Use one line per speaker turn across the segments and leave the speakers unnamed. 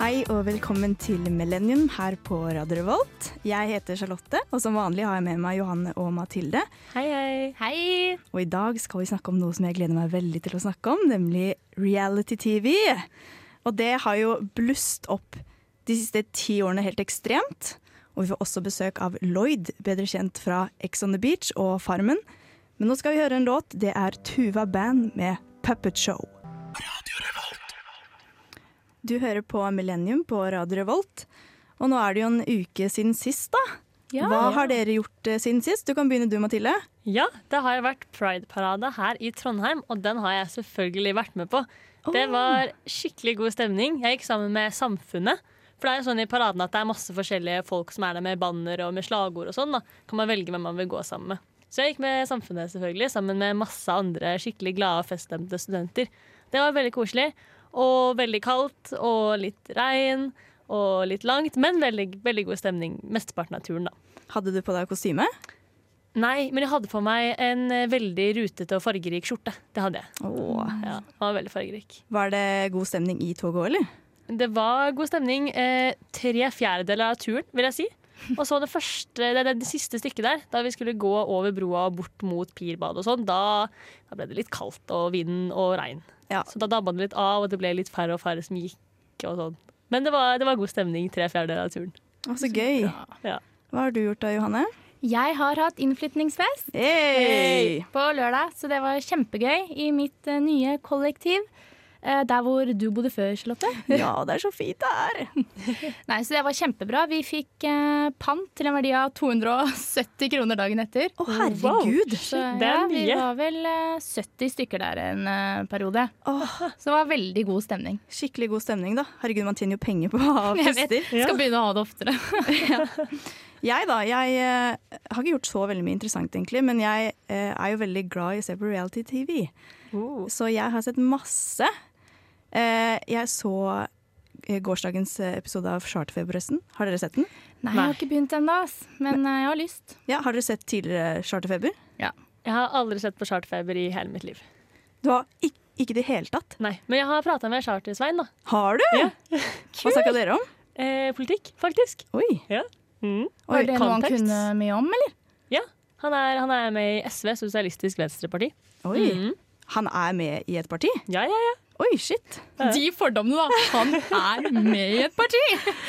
Hei og velkommen til Millennium her på Radio Revolt. Jeg heter Charlotte, og som vanlig har jeg med meg Johanne og Mathilde.
Hei, hei.
Hei!
Og i dag skal vi snakke om noe som jeg gleder meg veldig til å snakke om, nemlig reality-TV. Og det har jo blust opp de siste ti årene helt ekstremt. Og vi får også besøk av Lloyd, bedre kjent fra Ex on the Beach og Farmen. Men nå skal vi høre en låt. Det er Tuva Band med Puppet Show. Du hører på Millennium på Radio Revolt. Og nå er det jo en uke siden sist, da.
Ja.
Hva har dere gjort eh, siden sist? Du kan begynne du, Mathilde.
Ja, det har jo vært Pride-parade her i Trondheim, og den har jeg selvfølgelig vært med på. Det var skikkelig god stemning. Jeg gikk sammen med Samfunnet. For det er jo sånn i paraden at det er masse forskjellige folk som er der med banner og med slagord og sånn. da. Kan man velge hvem man vil gå sammen med. Så jeg gikk med Samfunnet, selvfølgelig, sammen med masse andre skikkelig glade og feststemte studenter. Det var veldig koselig. Og veldig kaldt, og litt regn, og litt langt. Men veldig, veldig god stemning mesteparten av turen, da.
Hadde du på deg kostyme?
Nei, men jeg hadde på meg en eh, veldig rutete og fargerik skjorte. Det hadde jeg.
Åh.
Ja, den var veldig fargerik.
Var det god stemning i toget òg, eller?
Det var god stemning. Eh, tre fjerdedeler av turen, vil jeg si. Og så det første, det, det, det siste stykket der, da vi skulle gå over broa og bort mot Pirbadet og sånn, da, da ble det litt kaldt og vind og regn.
Ja.
Så da dabba det litt av, og det ble litt færre og færre som gikk og sånn. Men det var, det var god stemning tre fjerdedeler av turen.
Å, så gøy.
Ja.
Hva har du gjort da, Johanne?
Jeg har hatt innflytningsfest
Hey!
på lørdag, så det var kjempegøy i mitt eh, nye kollektiv. eh, Der hvor du bodde før, Charlotte.
Ja, det er så fint det er.
Nei, Så det var kjempebra. Vi fikk eh, pant til en verdi av 270 kroner dagen etter.
Å, herregud.
Så
det
ja,
er
vi
mye.
var vel eh, 70 stykker der en eh, periode.
Åh,
Så det var veldig god stemning.
skikkelig god stemning, da. Herregud, man tjener jo penger på å ha
Jeg vet,
fester.
skal begynne å ha det oftere.
Jeg da, jeg eh, har ikke gjort så veldig mye interessant egentlig, men jeg eh, er jo veldig glad i å se på reality-TV. Så jeg har sett masse. Eh, jeg så eh, gårsdagens eh, episode av Charterfeber, forresten. Har dere sett den?
Nei, jeg har ikke begynt ennå, ass. men eh, jeg har lyst.
Ja, Har dere sett tidligere Charterfeber?
Jeg har aldri sett på chartfeber i hele mitt liv.
Du har ikke, ikke i det hele tatt.
Nei, Men jeg har prata med Charter-Svein, da.
Har du?
Ja.
Hva snakka dere om?
Eh, politikk, faktisk.
Oi.
Var det noe han
context.
kunne mye om, eller?
Ja, han er, han er med i SV, Sosialistisk Venstreparti.
Oi. Mm.
Mm.
Han er med i et parti?
Ja, ja, ja.
Oi, shit.
Ja.
De fordommene, da. Han er med i et parti!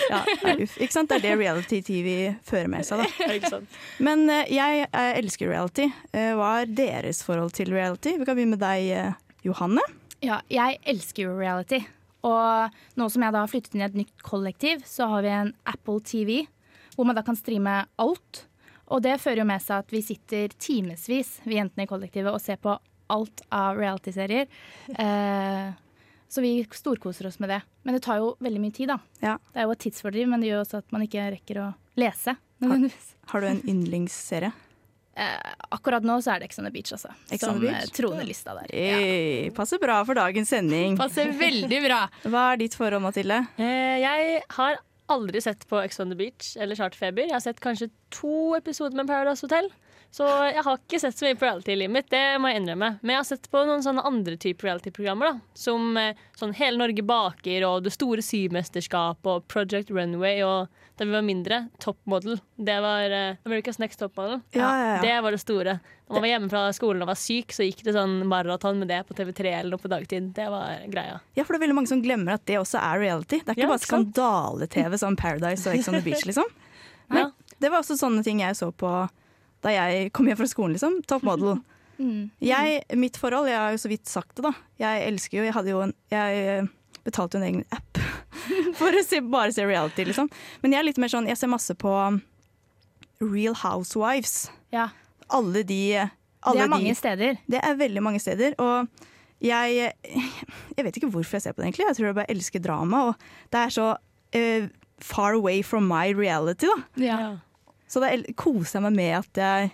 Ja, nei, uff. Ikke sant? Det er det reality-TV fører med seg, da.
Ikke sant?
Men eh, jeg eh, elsker reality. Eh, hva er deres forhold til reality? Vi kan begynne med deg, eh, Johanne.
Ja, jeg elsker jo reality. Og nå som jeg da har flyttet inn i et nytt kollektiv, så har vi en Apple TV, hvor man da kan streame alt. Og det fører jo med seg at vi sitter timevis, vi jentene i kollektivet, og ser på alt av realityserier. Eh, så vi storkoser oss med det. Men det tar jo veldig mye tid, da.
Ja.
Det er jo et tidsfordriv, men det gjør også at man ikke rekker å lese. nødvendigvis.
Har du en yndlingsserie?
Eh, akkurat nå så er det Ex on the Beach, altså.
Ex on
Som
the
eh,
Beach? Eh,
troner lista der. Ja.
Hey, passer bra for dagens sending.
Passer veldig bra.
Hva er ditt forhold, Mathilde?
Eh, jeg har aldri sett på Ex on the Beach eller Charterfeber. Jeg har sett kanskje to episoder med Paradise Hotel. Så jeg har ikke sett så mye på reality i livet mitt, det må jeg innrømme. Men jeg har sett på noen sånne andre type reality-programmer, da. Som eh, sånn Hele Norge baker og Det store symesterskapet og Project Runway og da vi var mindre, Top Model. Det var eh, America's Next Top Model.
Ja, ja, ja.
Det var det store. Når man var hjemme fra skolen og var syk, så gikk det sånn maraton med det på TV3 eller noe på dagtid. Det var greia.
Ja, for det er veldig mange som glemmer at det også er reality. Det er ikke
Ja,
bare
ikke sant?
skandale-TV som Paradise og Ex on the Beach, liksom. Men
Ja.
det var også sånne ting jeg så på da jeg kom hjem fra skolen, liksom. Top model.
Mm,
Jeg, mitt forhold, jeg har jo så vidt sagt det, da. Jeg elsker jo Jeg hadde jo en Jeg eh, betalte jo en egen app for å se, bare se reality, liksom. Men jeg er litt mer sånn Jeg ser masse på Real Housewives.
Ja.
Alle de alle
Det er
de,
mange steder.
det er veldig mange steder. Og jeg, jeg vet ikke hvorfor jeg ser på det, egentlig. Jeg tror jeg bare elsker drama. Og det er så eh, far away from my reality, da.
Ja.
Så da el- koser jeg meg med at jeg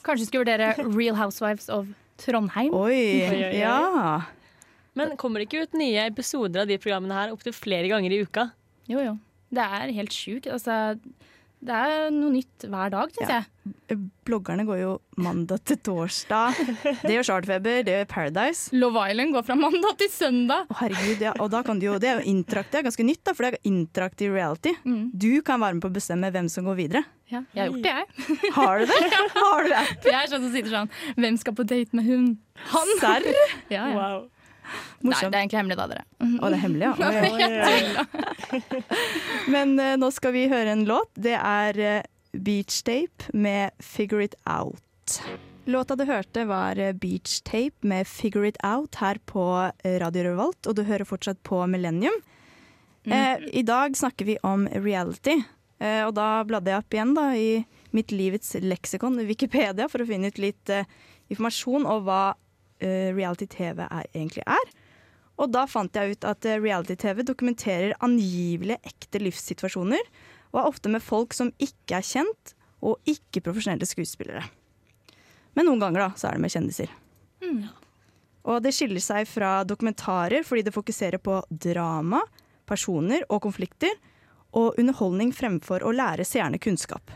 Kanskje du skulle vurdere Real Housewives of Trondheim?
Oi,
Oi, oi, oi.
ja.
Men kommer det ikke ut nye episoder av de programmene her opptil flere ganger i uka?
Jo, jo. Det er helt sjukt. Altså, Det er jo noe nytt hver dag, syns
Ja.
jeg.
Bloggerne går jo mandag til torsdag. Det gjør Chartfeber, det gjør Paradise.
Love Island går fra mandag til søndag.
Å, herregud, ja. Og da kan du jo, det er jo interaktivt, det er ganske nytt, da, for det er interaktiv reality. Du kan være med på å bestemme hvem som går videre.
Ja, jeg har gjort det, jeg.
Har du det? Har du det?
Jeg er sånn som sitter sånn Hvem skal på date med hun? Han!
Serr?
Ja, ja.
Wow.
Nei,
Morsomt.
det er egentlig hemmelig, da, dere.
Å, det er hemmelig, ja. Oi, oi. Men eh, nå skal vi høre en låt. Det er eh, Beach Tape med Figure It Out. Låta du hørte var eh, Beach Tape med Figure It Out her på eh, Radio Revolt, og du hører fortsatt på Millennium. Eh, I dag snakker vi om reality, eh, og da bladde jeg opp igjen da, i mitt livets leksikon, Wikipedia, for å finne ut litt eh, informasjon om hva eh, reality-TV er, egentlig er. Og da fant jeg ut at eh, reality-TV dokumenterer angivelige ekte livssituasjoner, og er ofte med folk som ikke er kjent, og ikke profesjonelle skuespillere. Men noen ganger da, så er det med kjendiser. Og det skiller seg fra dokumentarer fordi det fokuserer på drama, personer og konflikter, og underholdning fremfor å lære seerne kunnskap.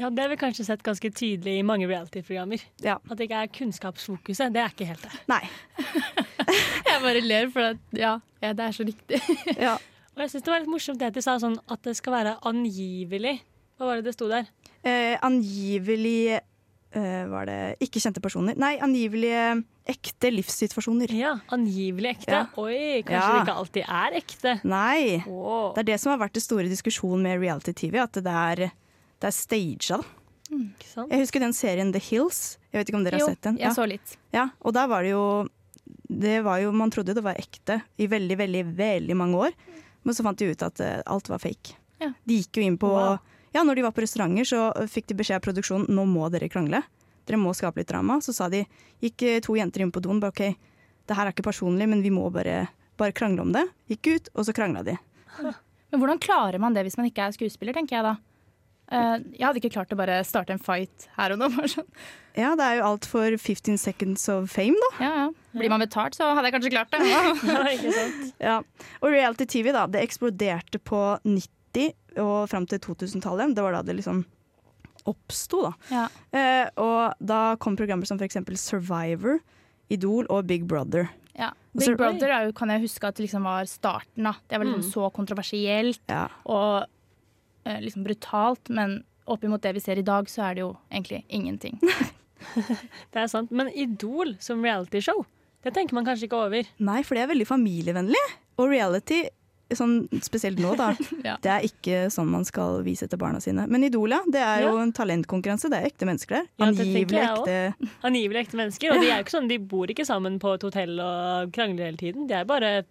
Ja, Det har vi kanskje sett ganske tydelig i mange reality-programmer.
Ja,
At det ikke er kunnskapsfokuset. Det er ikke helt det.
nei.
Jeg bare ler, for at, ja, ja, det er så riktig.
Ja.
Og jeg syns det var litt morsomt det de sa, sånn at det skal være angivelig. Hva var det det sto der?
Eh, angivelig eh, var det ikke kjente personer. Nei, angivelige ekte livssituasjoner.
Ja, Angivelig ekte.
Ja.
Oi, kanskje
Ja.
det ikke alltid er ekte.
Nei.
Åh.
Det er det som har vært det store diskusjonen med reality-TV, at det er, det er staged. da.
Ikke sant?
Jeg husker den serien The Hills. Jeg vet ikke om dere
Jo,
har sett den?
jeg så litt.
Ja, og der var det jo det var jo, Man trodde det var ekte i veldig, veldig veldig mange år, men så fant de ut at eh, alt var fake.
Ja.
De gikk jo inn på
Wow.
Ja, når de var på restauranter, så eh, fikk de beskjed av produksjonen nå må dere krangle. Dere må skape litt drama. Så sa de, gikk eh, to jenter inn på doen bare OK, det her er ikke personlig, men vi må bare, bare krangle om det. Gikk ut, og så krangla de.
Men hvordan klarer man det hvis man ikke er skuespiller, tenker jeg da. Eh, jeg hadde ikke klart å bare starte en fight her og nå. Bare sånn.
Ja, det er jo alt for 15 seconds of fame, da.
Ja, ja. Blir man betalt, så hadde jeg kanskje klart det.
Ja, ikke sant?
Ja. Og reality-TV, da. Det eksploderte på 90- og fram til 2000-tallet. Det var da det liksom oppsto, da.
Ja.
Eh, og da kom programmer som f.eks. Survivor, Idol og Big Brother.
Ja.
så-
Big Brother er jo, kan jeg huske at det liksom var starten. Da. Det var liksom så kontroversielt
Ja.
og eh, liksom brutalt, men oppimot det vi ser i dag, så er det jo egentlig ingenting.
Det er sant. Men Idol som realityshow, det tenker man kanskje ikke over.
Nei, for det er veldig familievennlig. Og reality, sånn, spesielt nå, da.
Ja.
Det er ikke sånn man skal vise til barna sine. Men Idol, ja. Det er jo
Ja.
en talentkonkurranse. Det er ekte mennesker der.
Ja, det tenker
Angivelig
jeg også.
ekte.
Angivelig ekte mennesker. Og de er jo ikke sånn, de bor ikke sammen på et hotell og krangler hele tiden. De er bare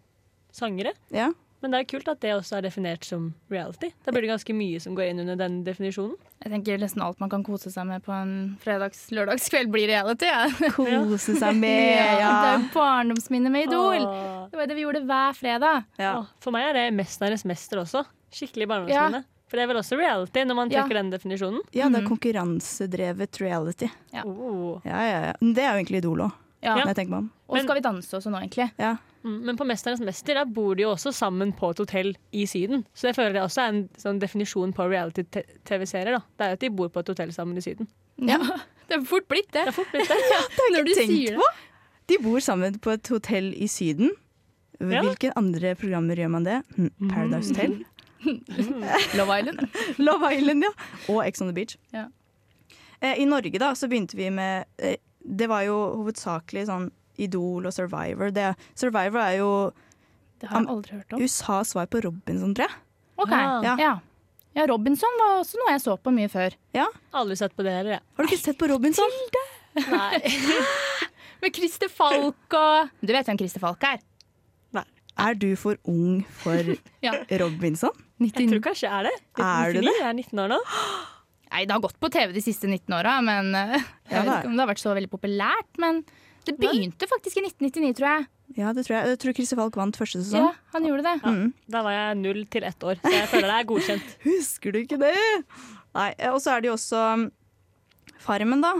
sangere.
Ja.
Men det er kult at det også er definert som reality. Da blir det ganske mye som går inn under den definisjonen.
Jeg tenker nesten alt man kan kose seg med på en fredags-lørdagskveld blir reality. Ja.
Kose seg med,
Ja, Det er
ja.
jo barndomsminnet med Idol.
Åh.
Det var jo det vi gjorde hver fredag.
ja.
Åh, For meg er det 'Mesternes mester' også. Skikkelig barndomsminne. For det er vel også reality, når man
Ja.
trekker den definisjonen.
Ja, det er
Mhm.
konkurransedrevet reality.
Ja.
Oh.
Ja, ja, ja. Men Det er jo egentlig Idol òg,
Ja.
når jeg tenker meg om.
Og
Men-
skal vi danse også nå, egentlig?
Ja.
Mm, Men på 'Mesternes mester' da bor de jo også sammen på et hotell i Syden. Så jeg føler det også er en sånn definisjon på reality-TV-serier. da. Det er jo at de bor på et hotell sammen i Syden.
Ja. Det er fort blitt, det.
Det er fort blitt det.
Når du
tenkt
sier det.
De bor sammen på et hotell i Syden.
Ja.
Hvilke andre programmer gjør man det? Hm,
Mm.
Paradise Hotel.
Love Island.
Love Island, ja. Og Ex on the Beach.
Ja.
Eh, I Norge da, så begynte vi med eh, Det var jo hovedsakelig sånn Idol og Survivor. Det, Survivor er jo
Det har jeg aldri hørt om.
USAs svar på Robinson, tror jeg.
Ok,
Ah.
ja. ja. Robinson var også noe jeg så på mye før.
Ja.
Aldri sett på det heller, jeg.
Har du ikke sett på Robinson?
Nei.
Med Christer Falk og Du vet hvem Christer Falk er?
Er du for ung for
Ja.
Robinson?
Jeg tror kanskje jeg er det.
Er du det?
1999, Jeg er 19 år nå.
Nei, det har gått på TV de siste 19 åra, men eh, jeg
Ja,
vet
det er-
ikke om det har vært så veldig populært. Men det begynte faktisk i 1999, tror jeg.
Ja, det tror jeg. Jeg tror Christer Falk vant første
Ja,
sesong.
han gjorde det.
Da var jeg null til ett år, så jeg føler det er godkjent.
Husker du ikke det? Nei, eh, Og så er det jo også um, Farmen, da.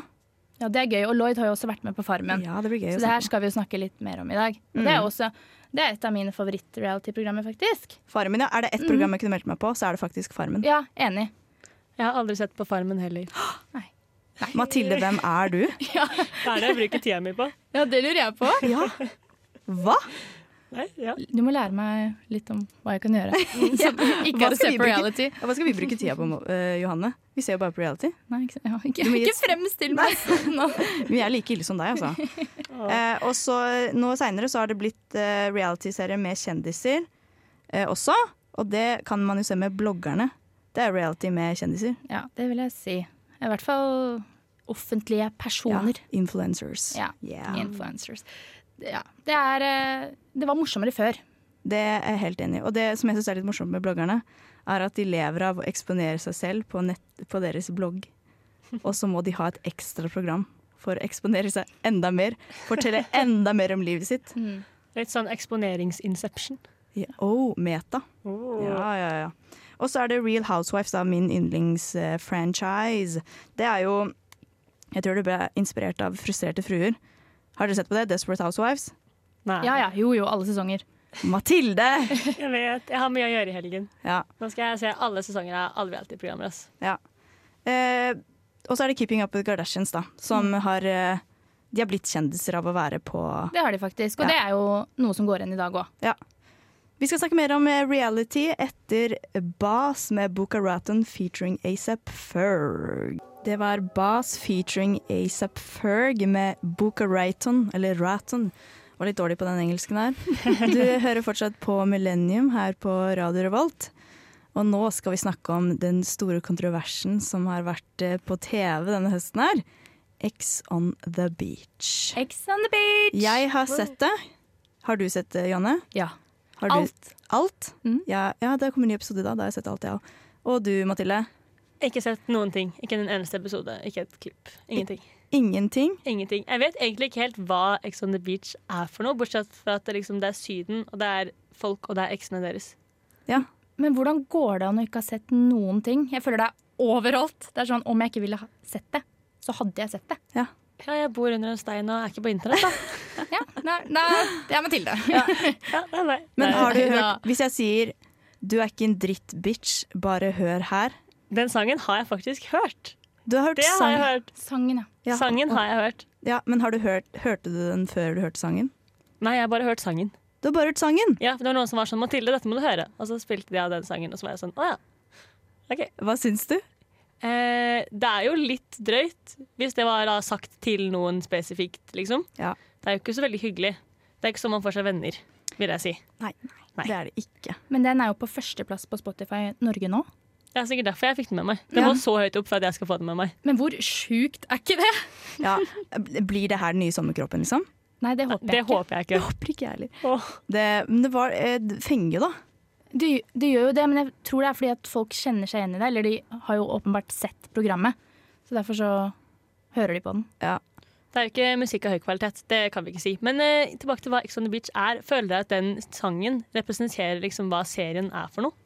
Ja, Det er gøy. Og Lloyd har jo også vært med på Farmen.
ja, det blir gøy. å
Så
se
det her
på.
skal vi jo snakke litt mer om i dag. Og det er også det er et av mine favoritt-reality-programmer, faktisk. Mhm.
Farmen, ja. Er det ett program jeg kunne meldt meg på, så er det faktisk Farmen.
Ja, enig.
Jeg har aldri sett på Farmen heller.
Mathilde, hvem er du?
Hva er det jeg bruker tida mi på?
Ja, det lurer jeg på.
Ja. Hva?
Nei, ja.
Du må lære meg litt om hva jeg kan gjøre. Så ikke
Hva
at du
skal
ser
vi
på
bruke?
reality.
Hva skal vi bruke tida på, eh, Johanne? Vi ser jo bare på reality.
Nei, ikke, ja, ikke,
Du må gi
ikke
et-
fremstill meg sånn nå.
Vi er like ille som deg, altså. Eh, og så nå seinere så har det blitt eh, realityserie med kjendiser eh, også. Og det kan man jo se med bloggerne. Det er reality med kjendiser.
Ja, det vil jeg si. I hvert fall offentlige personer.
Influencers.
Ja.
Yeah.
Influencers. Ja, det, er, eh, det var morsommere før.
Det er jeg helt enig i. Og det som jeg syns er litt morsomt med bloggerne, er at de lever av å eksponere seg selv på, nett, på deres blogg. Og så må de ha et ekstra program for å eksponere seg enda mer. Fortelle enda mer om livet sitt.
Mm.
Litt sånn eksponeringsinception.
Ja. Oh, meta. Ja, ja, ja. Og så er det Real Housewives, da, min yndlingsfranchise. Det er jo Jeg tror det ble inspirert av Frustrerte fruer. Har dere sett på det? Desperate Housewives?
Nei.
Ja ja, jo jo, alle sesonger.
Mathilde!
Jeg vet, jeg har mye å gjøre i helgen.
Ja.
Nå skal jeg se alle sesonger av alle reality-programmer. ass.
ja. Eh, og så er det Keeping Up With Kardashians, da, som har eh, De har blitt kjendiser av å være på
Det har de faktisk. Og
Ja.
det er jo noe som går igjen i dag òg.
Ja. Vi skal snakke mer om eh, reality etter Bas med Boca Raton featuring ASAP Ferg. Det var Bas featuring ASAP Ferg med Boca Raton, eller Raton. Var litt dårlig på den engelsken her. Du hører fortsatt på Millennium her på Radio Revolt. Og nå skal vi snakke om den store kontroversen som har vært eh, på TV denne høsten her. X on the beach.
Ex on the beach!
Jeg har sett det. Har du sett det, Janne?
Ja.
Har du-
Alt.
Alt?
Mm.
Ja, ja, det kommer en ny episode da. Da har jeg sett alt, jeg òg. Og du, Mathilde?
Ikke sett noen ting. Ikke en eneste episode. Ikke et klipp. Ingenting.
Ingenting.
Ingenting. Jeg vet egentlig ikke helt hva Ex on the Beach er for noe, bortsett fra at det, liksom, det er Syden, og det er folk, og det er eksene deres.
Ja.
Men hvordan går det an å ikke ha sett noen ting? Jeg føler det er overalt. Det er sånn, Om jeg ikke ville ha sett det, så hadde jeg sett det.
Ja, jeg bor under en stein og er ikke på internett, da.
Ja, nei, nei, det er Mathilde.
Ja, det er meg.
Men
Nei.
har du
Ja.
hørt Hvis jeg sier 'du er ikke en dritt bitch, bare hør her'
Den sangen har jeg faktisk hørt.
Du har hørt
Det har jeg
sangen.
hørt.
Sangen, ja.
Ja.
Sangen har jeg hørt.
Ja, men har du hørt, hørte du den før du hørte sangen?
Nei, jeg har bare hørt sangen.
Du har bare hørt sangen!
Ja, for det var noen som var sånn 'Mathilde, dette må du høre'. Og så spilte de av den sangen, og så var jeg sånn 'Å ja'. Ok.
Hva syns du?
Eh, det er jo litt drøyt, hvis det var da sagt til noen spesifikt, liksom.
Ja.
Det er jo ikke så veldig hyggelig. Det er ikke sånn man får seg venner, vil jeg si.
Nei,
Nei.
det er det ikke.
Men den er jo på førsteplass på Spotify Norge nå.
Det er sikkert derfor jeg fikk den med meg. Det
Ja.
må så høyt opp for at jeg skal få den med meg.
Men hvor sjukt er ikke det?
Ja. Blir det her den nye sommerkroppen, liksom?
Nei, det håper
Det
jeg ikke.
håper jeg ikke.
Håper ikke jeg heller.
Åh.
Det, men det var eh, fenge, da.
Du, du gjør jo det, men jeg tror det er fordi at folk kjenner seg igjen i det. Eller de har jo åpenbart sett programmet, så derfor så hører de på den.
Ja.
Det er jo ikke musikk av høy kvalitet, det kan vi ikke si. Men eh, tilbake til hva Ex on the Beach er. Føler dere at den sangen representerer liksom hva serien er for noe?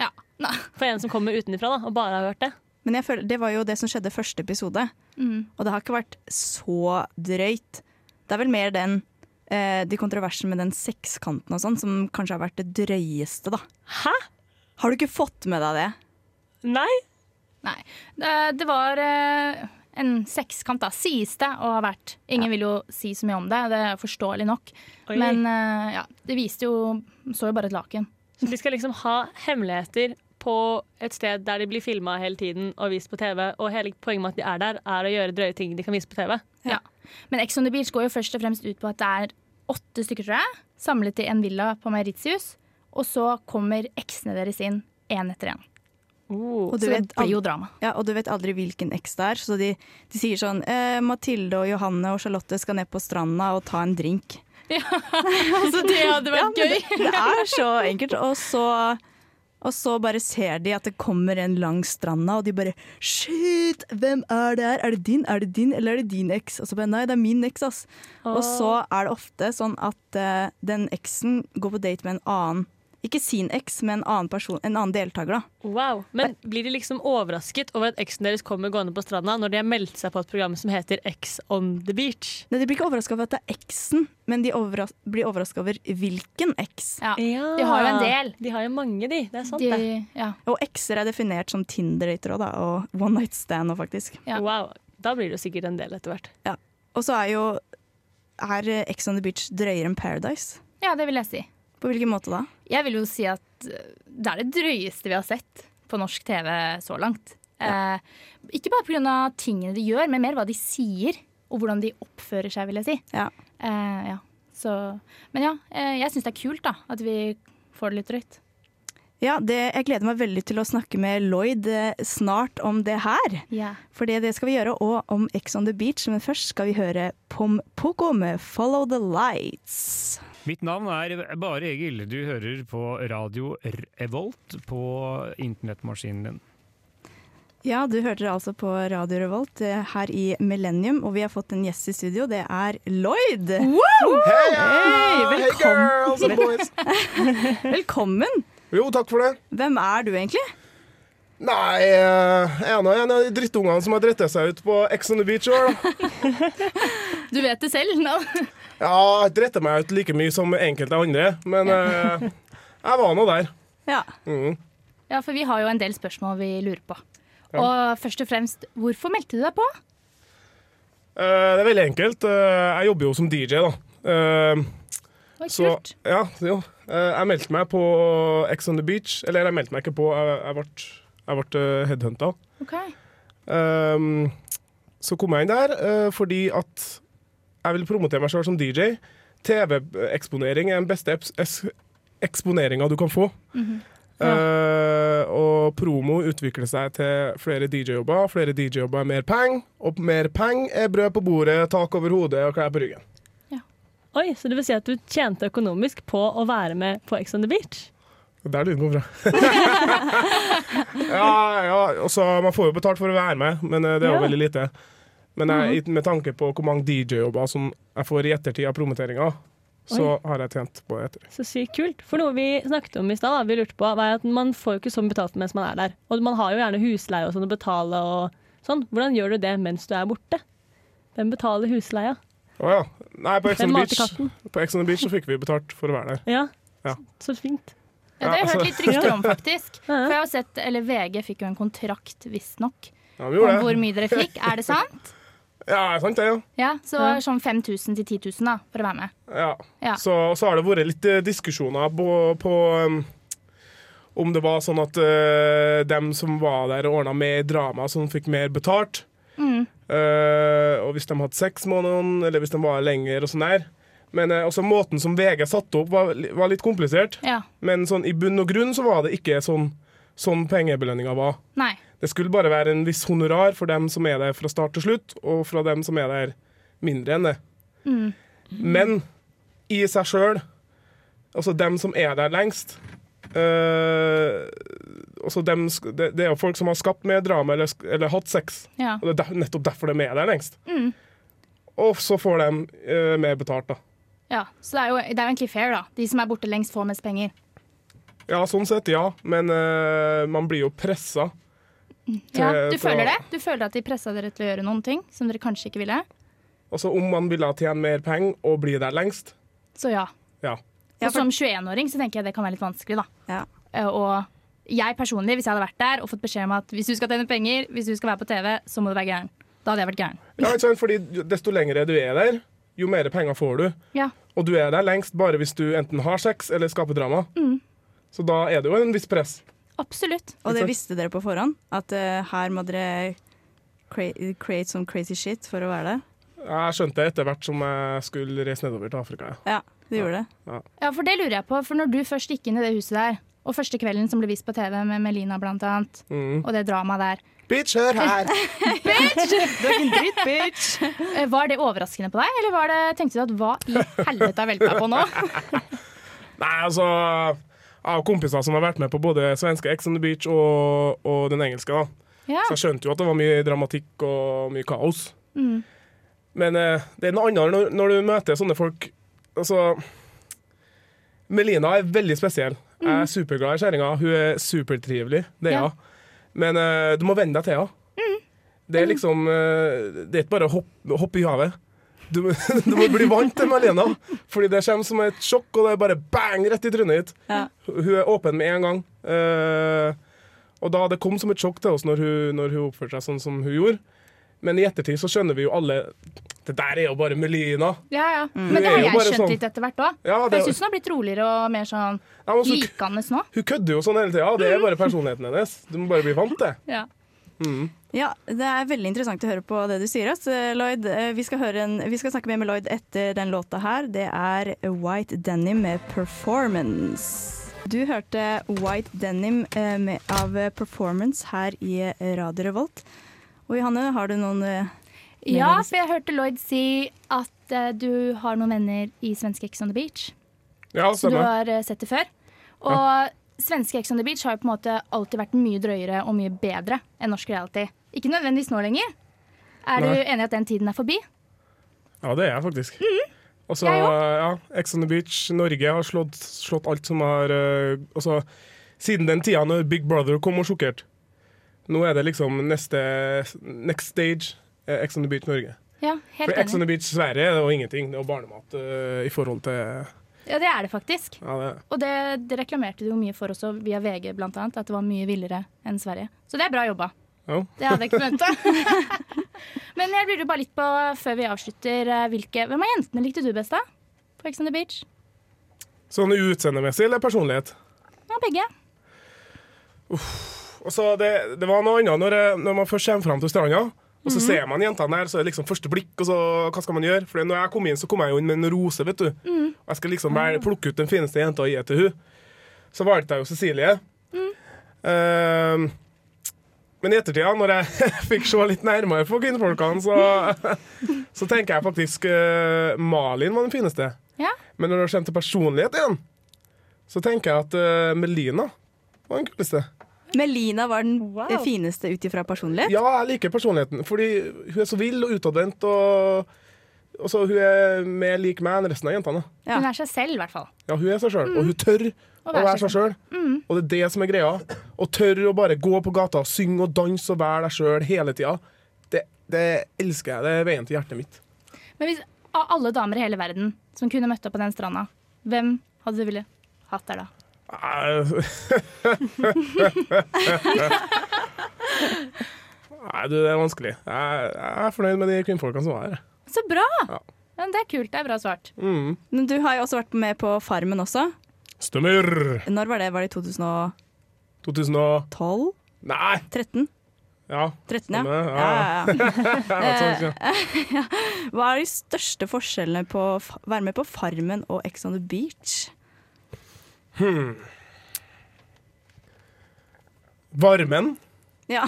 Ja. Nei.
For en som kommer utenfra da, og bare har hørt det.
Men jeg føler, det var jo det som skjedde første episode.
Mm.
Og det har ikke vært så drøyt. Det er vel mer den eh, de kontroversene med den sekskanten og sånn som kanskje har vært det drøyeste, da.
Hæ?
Har du ikke fått med deg det?
Nei?
Nei. Det, det var eh, en sekskant, da, sies det å ha vært. Ingen vil jo si så mye om det, det er forståelig nok.
Oi.
Men eh, ja, det viste jo Så jo bare et laken.
Så de skal liksom ha hemmeligheter på et sted der de blir filma hele tiden og vist på TV. Og hele poenget med at de er der, er å gjøre drøye ting de kan vise på TV.
Ja. Men Ex on the Beach går jo først og fremst ut på at det er åtte stykker, tror jeg, samlet i en villa på Mauritius. Og så kommer eksene deres inn én etter én.
Og du
Så det
vet,
blir jo
aldri,
drama.
ja, og du vet aldri hvilken eks det er. Så de, de sier sånn eh, Mathilde og Johanne og Charlotte skal ned på stranda og ta en drink.
Altså, det hadde vært
men Det, det er så enkelt. Og så, og så bare ser de at det kommer en langs stranda, og de bare Shit, hvem er det her? Er det din, er det din, eller er det din eks? Og så bare nei, det er min eks, ass. Og så er det ofte sånn at eh, den eksen går på date med en annen ikke sin eks, men en annen, person, en annen deltaker. da.
Wow. Men blir de liksom overrasket over at eksen deres kommer gående på stranda når de har meldt seg på et program som heter Ex on the beach?
Nei, De blir ikke overraska over at det er eksen, men de overras blir overraska over hvilken eks.
Ja. De har jo en del.
De har jo mange, de. Det er sant, det.
De, ja.
Og ekser er definert som Tinder-dater også, da, og one night stand òg, faktisk.
Ja.
Wow. Da blir det jo sikkert en del etter hvert.
Og så er jo Er eh, Ex on the beach drøyere enn Paradise?
ja, det vil jeg si.
På hvilken måte da?
Jeg vil jo si at eh, det er det drøyeste vi har sett på norsk TV så langt. Eh, ikke bare pga. tingene de gjør, men mer hva de sier og hvordan de oppfører seg, vil jeg si.
Ja.
Eh, ja. Så, men ja, eh, jeg syns det er kult da, at vi får det litt drøyt.
Ja, det, jeg gleder meg veldig til å snakke med Lloyd eh, snart om det her. For det, det skal vi gjøre, og om Ex on the beach. Men først skal vi høre Pom Poko med 'Follow the Lights'.
Mitt navn er Bare Egil. Du hører på radio Revolt på internettmaskinen din.
Ja, du hørte det altså på Radio Revolt eh, her i Millennium, og vi har fått en gjest i studio. Det er Lloyd.
Hei,
Hei,
ja! Hei,
velkommen.
girls and boys!
Velkommen!
Jo, takk for det.
Hvem er du egentlig?
Nei, eh, jeg er nå en av de drittungene som har dritt seg ut på Ex on the Beach i år, da.
Du vet det selv nå.
Ja, jeg dritter meg ut like mye som enkelte andre, men eh, jeg var nå der.
Ja.
Mm.
Ja, for vi har jo en del spørsmål vi lurer på. Og først og fremst, hvorfor meldte du deg på?
Eh, det er veldig enkelt. Eh, jeg jobber jo som DJ, da. Eh,
Oi,
så
kult.
Ja, jo. Eh, jeg meldte meg på Ex on the Beach. Eller jeg meldte meg ikke på, jeg, jeg ble, jeg ble eh, headhunta.
Ok.
Ehm, så kom jeg inn der eh, fordi at jeg vil promotere meg sjøl som DJ. TV-eksponering er den beste eps- es- eksponeringa du kan få.
Mhm.
Eh, og promo utvikler seg til flere DJ-jobber. Flere DJ-jobber er mer peng, og mer peng er brød på bordet, tak over hodet og klær på ryggen.
Oi, Så det vil si at du tjente økonomisk på å være med på Ex on the beach?
Det er der lyden kom fra. ja, ja, og så Man får jo betalt for å være med, men eh, det er jo
Ja.
veldig lite. Men jeg, i- med tanke på hvor mange DJ-jobber som jeg får i ettertid av promoteringa, så har jeg tjent på det etter.
Så sykt kult. For noe vi snakket om i stad, da, vi lurte på, var at man får jo ikke sånn betalt mens man er der. Og man har jo gjerne husleie og sånn å betale og sånn. Hvordan gjør du det mens du er borte? Hvem betaler husleia?
Å ja. Nei, på Ex
Hvem
on the
mater
Beach,
katten?
på Ex on the Beach så fikk vi betalt for å være der.
Ja.
Ja.
Så fint.
Ja, det har jeg
Ja, altså-
hørt litt rykter om, faktisk.
Ja, ja.
For jeg har sett, eller VG fikk jo en kontrakt, visstnok,
Ja, vi
om
gjorde
hvor
det.
mye dere fikk. Er det sant?
Ja, sant det, ja.
Ja, så
Ja.
sånn 5000 til 10 000 da, for å være med.
ja.
Ja.
Så, så har det vært litt eh, diskusjoner på, på um, om det var sånn at eh, dem som var der og ordna mer drama, som fikk mer betalt.
Mm,
Eh, og hvis de hadde sex med noen, eller hvis de var lenger og sånn der. Men eh, også måten som VG satte opp, var, li- var litt komplisert.
Ja,
Men sånn, i bunn og grunn så var det ikke sånn, sånn pengebelønninga var.
nei.
Det skulle bare være en viss honorar for dem som er der fra start til slutt, og fra dem som er der mindre enn det. Men i seg sjøl, altså dem som er der lengst øh, altså dem, sk- det, det er jo folk som har skapt mer drama eller, sk- eller hatt sex,
Ja.
og det er der, nettopp derfor de er der lengst.
Mm.
Og så får de øh, mer betalt, da.
ja. Så det er, jo, det er jo egentlig fair, da. De som er borte lengst, får mest penger.
Ja, sånn sett, ja, men øh, man blir jo pressa.
Mm. Ja,
Til-
du
til
føler det?
å-
Du føler at de pressa dere til å gjøre noen ting som dere kanskje ikke ville?
Altså om man ville tjene mer penger og bli der lengst,
Så ja.
ja.
Ja,
Og som 21-åring så tenker jeg det kan være litt vanskelig, da.
Ja.
Eh, Og jeg personlig, hvis jeg hadde vært der og fått beskjed om at hvis du skal tjene penger, hvis du skal være på TV, så må du være gæren. Da hadde jeg vært gæren.
Ja, ikke sant? Fordi desto lengre du er der, jo mer penger får du.
Ja.
Og du er der lengst bare hvis du enten har sex eller skaper drama.
Mm.
Så da er det jo en viss press.
Absolutt.
Og det
Takk.
visste dere på forhånd? At eh, her må dere cra create some crazy shit for å være der?
Jeg skjønte det etter hvert som jeg skulle reise nedover til Afrika. ja.
Ja, det gjorde det.
Ja, for det lurer jeg på. For når du først gikk inn i det huset der, og første kvelden som ble vist på TV med Melina blant annet,
Mm.
og det dramaet der,
Bitch, hør her!
Du er ikke en dritt, bitch!
eh, var det overraskende på deg? Eller var det, tenkte du at hva i helvete har velta meg på nå?
Nei, altså Jeg har kompiser som har vært med på både svenske Ex on the Beach og, og den engelske. da.
Ja.
Så jeg skjønte jo at det var mye dramatikk og mye kaos.
Mm.
Men eh, det er noe annet når, når du møter sånne folk. Altså Melina er veldig spesiell. Jeg er superglad i kjerringa. Hun er supertrivelig. Det er
Mm. Ja. Mm.
hun. Men eh, du må venne deg til henne. Det er liksom eh, Det er ikke bare å hoppe, hoppe i havet. Du, må- du må bli vant til Malena, Fordi det kommer som et sjokk, og det er bare bang rett i trynet ditt.
Ja.
Hun er åpen med en gang. Eh, og da det kom som et sjokk til oss når hun, når hun oppførte seg sånn som hun gjorde. Men i ettertid så skjønner vi jo alle Det der er jo bare Melina.
Ja, ja. Men
Det
det
er
har
jo
jeg
bare
skjønt
sånn.
litt etter hvert òg.
Ja, det-
jeg syns hun har blitt roligere og mer sånn
Ja, men så,
likende nå.
hun kødder jo sånn hele tida. Det
Mm.
er bare personligheten hennes. Du må bare bli vant til det. Mm.
Ja.
Ja, Det er veldig interessant å høre på det du sier. Ass. Eh, Lloyd, eh, vi, skal høre en, vi skal snakke mer med Lloyd etter den låta her. Det er White Denim med 'Performance'. Du hørte White Denim eh, med, av eh, 'Performance' her i eh, Radio Revolt. Og Johanne, har du noen eh,
ja, for jeg hørte Lloyd si at eh, du har noen venner i svenske Ex on the Beach.
Ja,
Så du
stemmer.
har eh, sett det før. Og svenske Ex on the Beach har jo på en måte alltid vært mye drøyere og mye bedre enn norsk reality. Ikke nødvendigvis nå lenger. Er du
Nei.
enig i at den tiden er forbi?
Ja, det er jeg faktisk. Og så,
Mhm. Jeg
ja, Ex on the Beach, Norge har slått, slått alt som har eh, Altså, siden den tida når Big Brother kom og sjokkerte. Nå er det liksom neste Next stage eh, Ex on the Beach Norge.
Ja,
For
helt
Ex on
enig.
the Beach Sverige er det jo ingenting. Det er jo barnemat eh, i forhold til
Ja, det er det faktisk.
ja, det.
Og det, det reklamerte du jo mye for også via VG, blant annet, at det var mye villere enn Sverige. Så det er bra jobba.
Ja.
Det hadde jeg ikke forventa. Men jeg lurer bare litt på, før vi avslutter, eh, hvilke Hvem av jentene likte du best, da? På Ex on the Beach?
Sånn utseendemessig eller personlighet?
Ja, begge.
Og så det, det var noe annet når, jeg- når man først kommer fram til stranda. Og så ser man jentene der, så er det liksom første blikk, og så hva skal man gjøre? For når jeg kom inn, så kom jeg jo inn med en rose, vet du. Og jeg skal liksom bare plukke ut den fineste jenta og gi det til hun. Så valgte jeg jo Cecilie. Ehm, men i ettertida, når jeg fikk se litt nærmere på kvinnfolkene, så, så tenker jeg faktisk eh, Malin var den fineste.
Ja.
Men når det kommer til personlighet igjen, så tenker jeg at eh, Melina var den kuleste.
Melina var den
Wow.
eh, fineste ut ifra personlighet.
Ja, jeg liker personligheten. Fordi hun er så vill og utadvendt. Og, og så hun er mer lik meg enn resten av jentene.
Ja.
Hun er seg selv, i hvert fall.
Ja, hun er seg sjøl, Mm. og hun tør å
være
være seg Mm. sjøl. Og det er det som er greia. Å tørre å bare gå på gata, synge og danse og være deg sjøl hele tida. Det, det elsker jeg. Det er veien til hjertet mitt.
Men hvis av alle damer i hele verden som kunne møtt opp på den stranda, hvem hadde du ville hatt der da?
Nei, Nei, du, det er vanskelig. Jeg, jeg er fornøyd med de kvinnfolkene som var her.
Så bra!
Ja.
Ja, men det er kult. Det er bra svart.
Mm.
Men du har jo også vært med på Farmen også.
Stemmer!
Når var det? Var det i 2012?
2000 og Nei!
13?
Ja,
13, ja. ja,
Stemmer, ja.
ja, ja.
Ja, takk, ja.
Hva er de største forskjellene på å f- være med på Farmen og Ex on the Beach?
Varmen. Ehm,
Ja,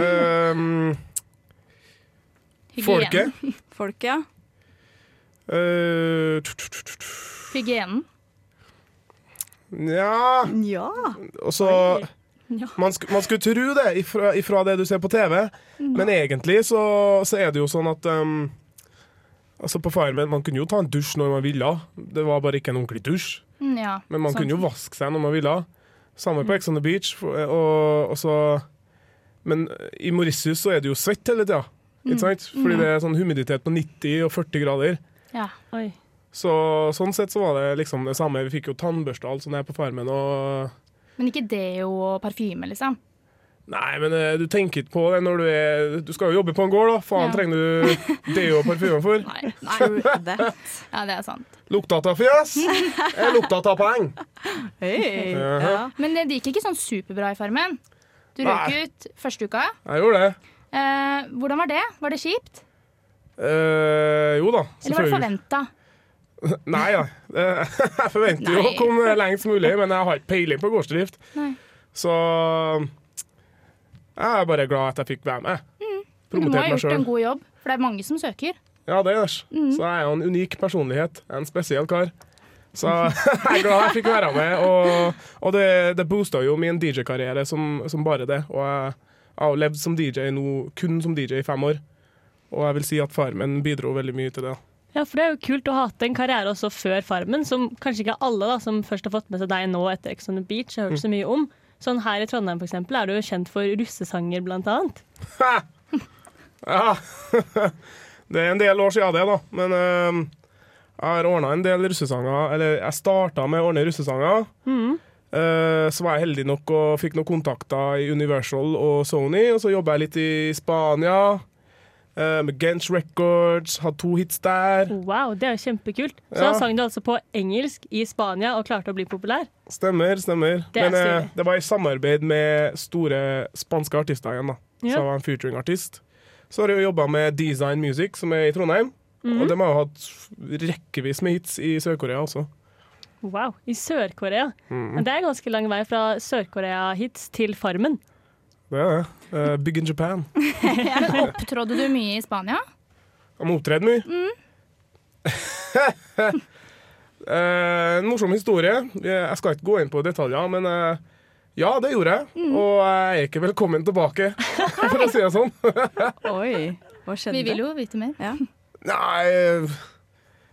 øhm, folket.
folk, ja.
øh, tut, tut, tut, tut.
Hygienen.
Nja
Ja.
Eh, Og så man, sk man skulle tro det ifra, ifra det du ser på TV, men egentlig så, så er det jo sånn at øhm, Altså På Farmen man kunne jo ta en dusj når man ville, det var bare ikke en ordentlig dusj.
Mm, ja.
Men man
Sånn.
kunne jo vaske seg når man ville. Samme på Ex on the Beach. for- Og, og så, men i Mauritius så er det jo svett hele tida. Ikke sant? Fordi det er sånn humiditet på 90 og 40 grader.
Ja.
Oi.
Så, sånn sett så var det liksom det samme. Vi fikk jo tannbørste og alt sånt her på farmen. Og
Men ikke deo og parfyme, liksom.
nei, men eh, du tenker ikke på det når du er Du skal jo jobbe på en gård, da. Faen,
Ja.
trenger du deo og parfyme for?
Nei. Nei.
True that.
Ja, det er sant.
Lukta av fjes? Jeg lukta av poeng.
Hey. Ja.
Jaha.
Men det gikk ikke sånn superbra i Farmen. Du
Nei.
røk ut første uka.
Jeg gjorde det.
Eh, hvordan var det? Var det kjipt?
Eh, jo da,
Eller var det forventa?
Nei ja. Eh, Jeg forventer jo å
Nei.
komme lengst mulig, men jeg har ikke peiling på gårdsdrift.
Nei.
Så jeg er bare glad at jeg fikk være med.
Mm. Du må ha
Promotert meg
gjort en
sjøl.
god jobb, for det er mange som søker.
Ja, det gjørs. Så jeg er jo en unik personlighet. Jeg er En spesiell kar. Så jeg er glad jeg fikk være med, og, og det, det boosta jo min DJ-karriere som, som bare det. Og jeg jeg har jo levd som DJ nå, kun som DJ i fem år, og jeg vil si at faren min bidro veldig mye til det.
Ja, for det er jo kult å ha hatt en karriere også før Farmen, som kanskje ikke alle da, som først har fått med seg deg nå etter Ex on the Beach, har hørt så mye om. Sånn her i Trondheim for eksempel, er du jo kjent for russesanger blant annet.
Ja. Det er en del år siden det, da. Men eh, jeg har ordna en del russesanger. Eller jeg starta med å ordne russesanger. Eh, så var jeg heldig nok og fikk noen kontakter i Universal og Sony. Og så jobba jeg litt i Spania. eh, med Gench Records. Hadde to hits der.
Wow, det er jo kjempekult. Så
Ja.
da sang du altså på engelsk i Spania og klarte å bli populær.
Stemmer, stemmer.
Det er
Men eh,
stilig.
det var i samarbeid med store spanske artister igjen, da.
Ja.
Så jeg var en featuring-artist. Så har jeg jo jobba med Design Music, som er i Trondheim.
Mhm.
Og de har jo hatt rekkevis med hits i Sør-Korea også.
Wow, i Sør-Korea. Men Det er ganske lang vei fra Sør-Korea-hits til Farmen.
Det er det. Eh, Big in Japan.
Men opptrådde du mye i Spania?
Han har opptredd mye.
Mm.
Eh, en morsom historie. Jeg skal ikke gå inn på detaljer, men eh, ja, det gjorde jeg.
Mm.
Og jeg er ikke velkommen tilbake, for å si det sånn.
Oi, hva skjedde?
Vi vil jo vite mer.
Ja.
Nei,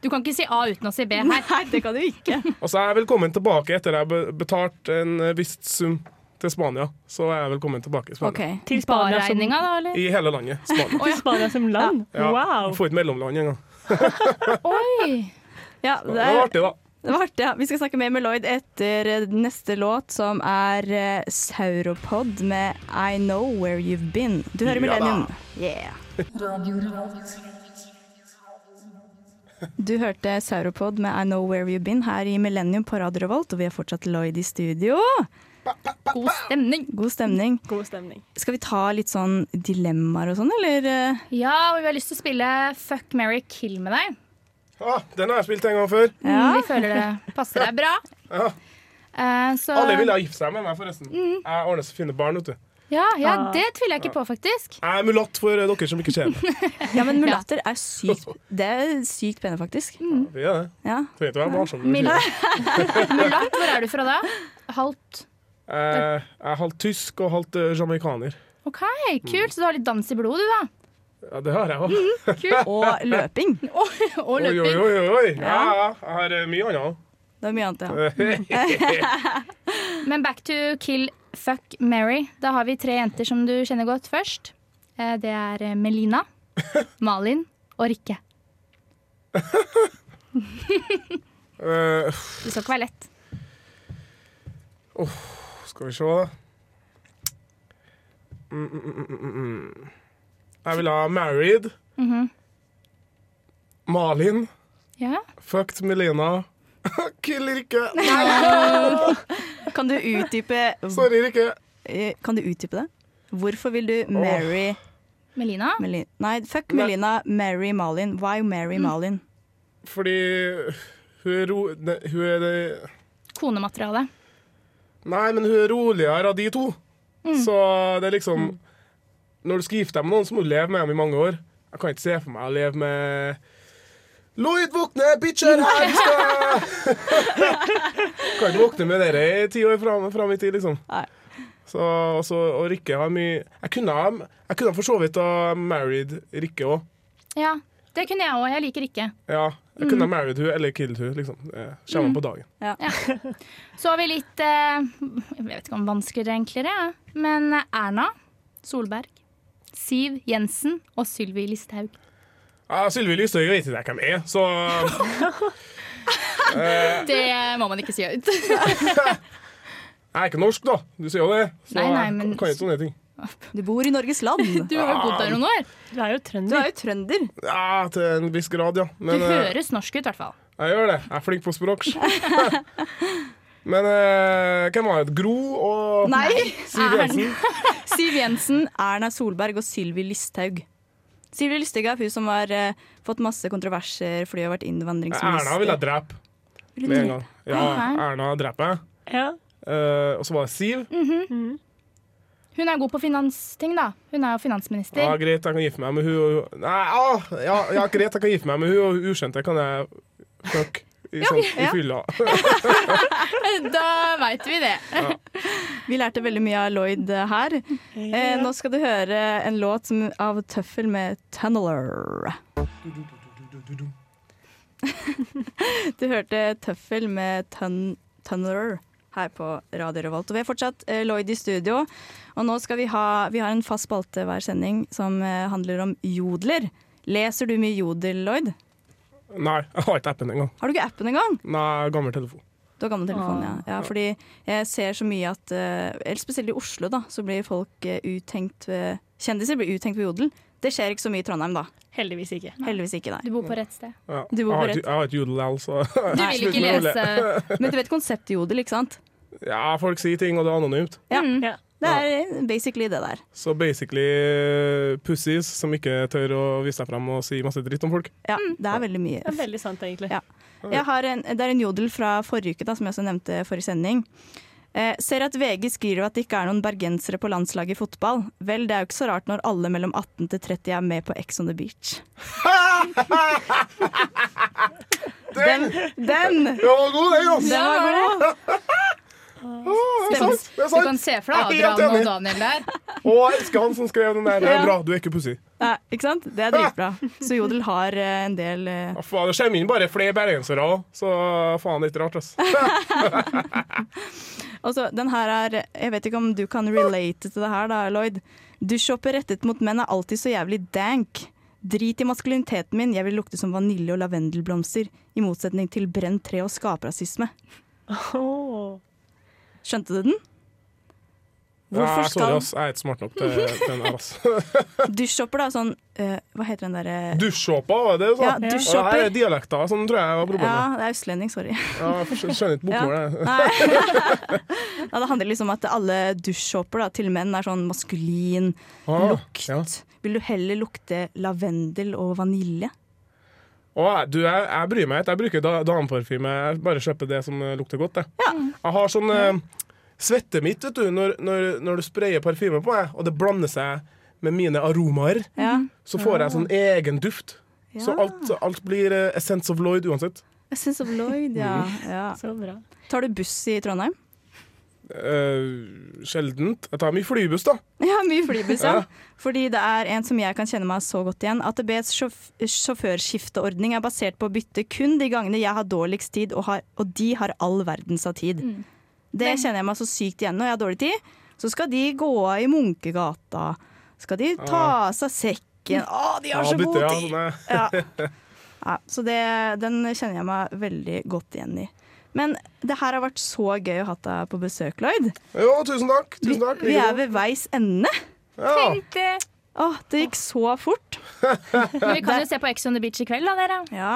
Du kan ikke si A uten å si B her.
Nei, det kan du ikke.
Altså, jeg er velkommen tilbake etter jeg har betalt en eh, viss sum til Spania. Så er jeg velkommen tilbake i Spania.
Ok,
Til Spania som,
Spareregninga, da, eller?
I hele landet. Spania.
til Spania som land.
Ja,
Wow.
Får ikke mellomland engang.
Oi!
ja, det,
Det var
er,
artig, da.
det var artig. Ja. Vi skal snakke mer med Lloyd etter eh, neste låt, som er eh, Sauropod med I Know Where You've Been. Du hører
Ja da.
Millennium. Yeah. Du hørte Sauropod med I Know Where You've Been her i Millennium på Radio Revolt, og vi er fortsatt Lloyd i studio.
God stemning.
God stemning.
God stemning.
Skal vi ta litt sånn dilemmaer og sånn, eller? eh?
Ja, og vi har lyst til å spille Fuck, Mary, kill med deg.
Ah, den har jeg spilt en gang før.
Ja.
Mm, Vi føler det passer deg bra.
Ja.
Eh, så
Alle ville ha gifte seg med meg, forresten.
Mm.
Jeg ordner så fine barn, vet du.
ja, ja, det tviler jeg ikke på, faktisk.
Jeg er mulatt for eh, dere som ikke ser det.
Ja, men mulatter er sykt Det er sykt pene, faktisk.
Vi er det.
Ja.
Trenger ikke å være varsom.
Mil-
Eh,
Mulatt, hvor er du fra da? Halvt.
Eh, Jeg er halvt tysk og halvt eh, jamaicaner.
OK, kult. Så du har litt dans i blodet, du, da.
Ja, det har jeg òg.
Og løping.
Og
Oi, oi,
løping.
oi. oi. Ja, ja. Jeg har eh, mye annet òg.
Det er mye annet, ja.
Men back to kill, fuck, Mary. Da har vi tre jenter som du kjenner godt først. Eh, Det er eh, Melina, Malin og Rikke.
Eh,
Det skal ikke være lett.
Skal vi se, da. Mm, mm, mm, mm, mm, mm. Jeg vil ha Married. Malin.
Mhm. Ja.
Fucked Melina. Kill Rikke. Nei,
Kan du utdype
sorry, Rikke.
eh, Kan du utdype det? Hvorfor vil du marry
Melina?
Melin Nei, fuck
Nei.
Melina, marry Malin. Why marry Malin?
Fordi hun er ro... ne- Hun er det-
Konemateriale.
Nei, men hun er roligere av de to. Så det er liksom Når du skal gifte deg med noen, så må du leve med dem i mange år. Jeg kan ikke se for meg å leve med Lloyd, våkne! Bitcher her! vi Skal... kan ikke våkne med dere i ti år fram, fram i tid, liksom.
Nei.
Så, og så- og Rikke har mye Jeg kunne, ha- jeg kunne for så vidt ha married Rikke òg.
Ja, det kunne jeg òg. Jeg liker Rikke.
Ja, jeg kunne ha married hun eller killed hun liksom. Det kommer an på dagen.
Så har vi litt eh, Jeg vet ikke om vanskeligere, enklere, ja. men eh, Erna Solberg. Siv Jensen og Sylvi Listhaug.
Ja, Sylvi Lysthaug vet ikke hvem jeg er, så
Det må man ikke si høyt.
Jeg er ikke norsk, da. Du sier jo det. Så
Nei, nei,
jeg
men-
kan ikke sånne ting.
Du bor i Norges land.
Du har jo bodd der noen år.
Du er jo
Du
trønder.
er jo trønder.
Ja, til en viss grad, ja.
Du
Men eh,
høres norsk ut, i hvert fall.
jeg gjør det. Jeg er flink på språk. Men eh, hvem var det? Gro og
Nei!
Siv Jensen?
Siv Jensen, Erna Solberg og Sylvi Listhaug. Sylvi Listhaug er hun som har eh, fått masse kontroverser fordi hun har vært innvandringsminister.
Erna vil jeg drepe med en gang. Ja,
Ok.
Erna dreper jeg.
Ja.
Eh, og så var det Siv.
Hun er god på finansting, da. Hun er jo
Ja,
finansminister.
greit, jeg kan gifte meg med hun og hun. Nei, ah, ja, ja, greit, jeg kan gifte meg med hun og hun ukjente kan jeg fuck i, sånn, i
ja.
fylla.
Da veit vi det.
Vi lærte veldig mye av Lloyd eh, her. Eh, nå skal du høre en låt som, av Tøffel med 'Tunneler'. Du hørte Tøffel med Tun Tunnerer her på Radio Revolt. Og vi er fortsatt eh, Lloyd i studio. Og nå skal vi ha Vi har en fast spalte hver sending som eh, handler om jodler. Leser du mye jodel, Lloyd?
Nei, jeg har ikke appen engang.
Har du ikke appen engang?
Nei, gammel telefon.
Du har gammel telefon, ja. Ah, ja. Fordi jeg ser så mye at eh, eller Spesielt i Oslo, da, så blir folk eh, uttenkt ved Kjendiser blir uttenkt på jodel. Det skjer ikke så mye i Trondheim, da.
Heldigvis ikke.
Heldigvis ikke, nei.
Du bor på rett sted.
Ja.
Du
Jeg
bor på
har
rett.
ikke- jeg har ikke jodel likevel, så
Du
Nei,
vil ikke
slutt med å
lese
Men du vet konseptet jodel, ikke sant?
Ja, folk sier ting, og det er anonymt.
Ja.
Mm.
Ja.
Det er basically det der.
Så basically eh, pussies som ikke tør å vise seg frem og si masse dritt om folk.
Mm. Ja, det er veldig mye.
Det er veldig sant, egentlig.
Ja. Jeg har en, det er en jodel fra forrige uke, da, som jeg også nevnte forrige sending. Eh, ser at VG skriver at det ikke er noen bergensere på landslaget i fotball. Vel, det er jo ikke så rart når alle mellom 18 til 30 er med på Ex on the beach. den! Den!
Det var god, den, altså!
Den var god!
Det er sant, det er
Du
sant.
kan se for
Jeg
deg
er helt
Adrian og
enig.
Daniel der.
Og jeg elsker han som skrev den der. Det er
Ja.
bra, du er ikke pussy.
Ja, ikke sant? Det er dritbra. Så jodel har eh, en del eh,
Ja, Ah, faen, det kommer inn bare flere bergensere òg, så ah, faen, det er ikke rart, ass.
Og så, altså, den her er Jeg vet ikke om du kan relate til det her, da, Lloyd. Dusjhopper rettet mot menn er alltid så jævlig dank. Drit i maskuliniteten min, jeg vil lukte som vanilje og lavendelblomster. I motsetning til brent tre og skaprasisme.
Åh.
Skjønte du den?
Ja,
Hvorfor
sorry,
skal
ass. Jeg er ikke smart nok til til den her, ass.
dusjhopper, da, sånn eh, Hva heter den derre
Dusjsåpa, var det det du sa?
Ja, dusjsåper.
det her er dialekter som tror jeg var
Ja,
problemet.
det er østlending, sorry.
Ja, jeg skjønner ikke bokmålet. jeg.
Nei. ja, det handler liksom om at alle dusjhopper da, til menn er sånn maskulin.
Ah,
Lukt.
ja.
Vil du heller lukte lavendel og vanilje?
Å, du, jeg, jeg bryr meg ikke. Jeg bruker da- dameparfyme. Jeg bare kjøper det som eh, lukter godt. Jeg, jeg har sånn eh, svette mitt vet du, når, når, når du sprayer parfyme på meg, og det blander seg med mine aromaer,
Ja.
så får jeg sånn egen duft.
Mhm. Ah. ja.
Så alt, alt blir eh, essence of Lloyd uansett.
Essence of Lloyd, ja. ja.
Så bra.
Tar du buss i Trondheim?
Eh, sjeldent. Jeg tar mye flybuss, da.
Ja, mye flybuss, ja.
Ja.
Fordi det er en som jeg kan kjenne meg så godt igjen. AtBs sjåf sjåførskifteordning er basert på å bytte kun de gangene jeg har dårligst tid, og, har, og de har all verdens av tid.
Mm.
Det kjenner jeg meg så sykt igjen når jeg har dårlig tid. Så skal de gå av i Munkegata. Skal de ta av seg sekken. Å, de har så god
bytter, ja,
tid!
sånn, eh.
Ja. ja så det, den kjenner jeg meg veldig godt igjen i. Men det her har vært så gøy å ha deg på besøk, Lloyd.
Jo, tusen takk.
Vi,
Tusen takk.
vi er ved veis ende.
ja.
Åh, det gikk så fort.
Men vi kan jo se på Ex on the beach i kveld, da, dere.
Ja.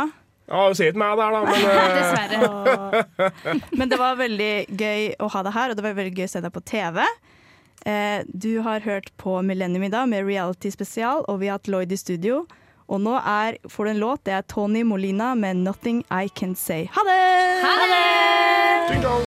ja, du sier ikke meg der, da, men eh,
Dessverre.
Men det var veldig gøy å ha deg her, og det var veldig gøy å se deg på TV. Eh, du har hørt på Millennium i dag med Reality Spesial, og vi har hatt Lloyd i studio. Og nå er, får du en låt. Det er Tony Molina med 'Nothing I Can Say'. Ha det!
Ha det!
ding dong.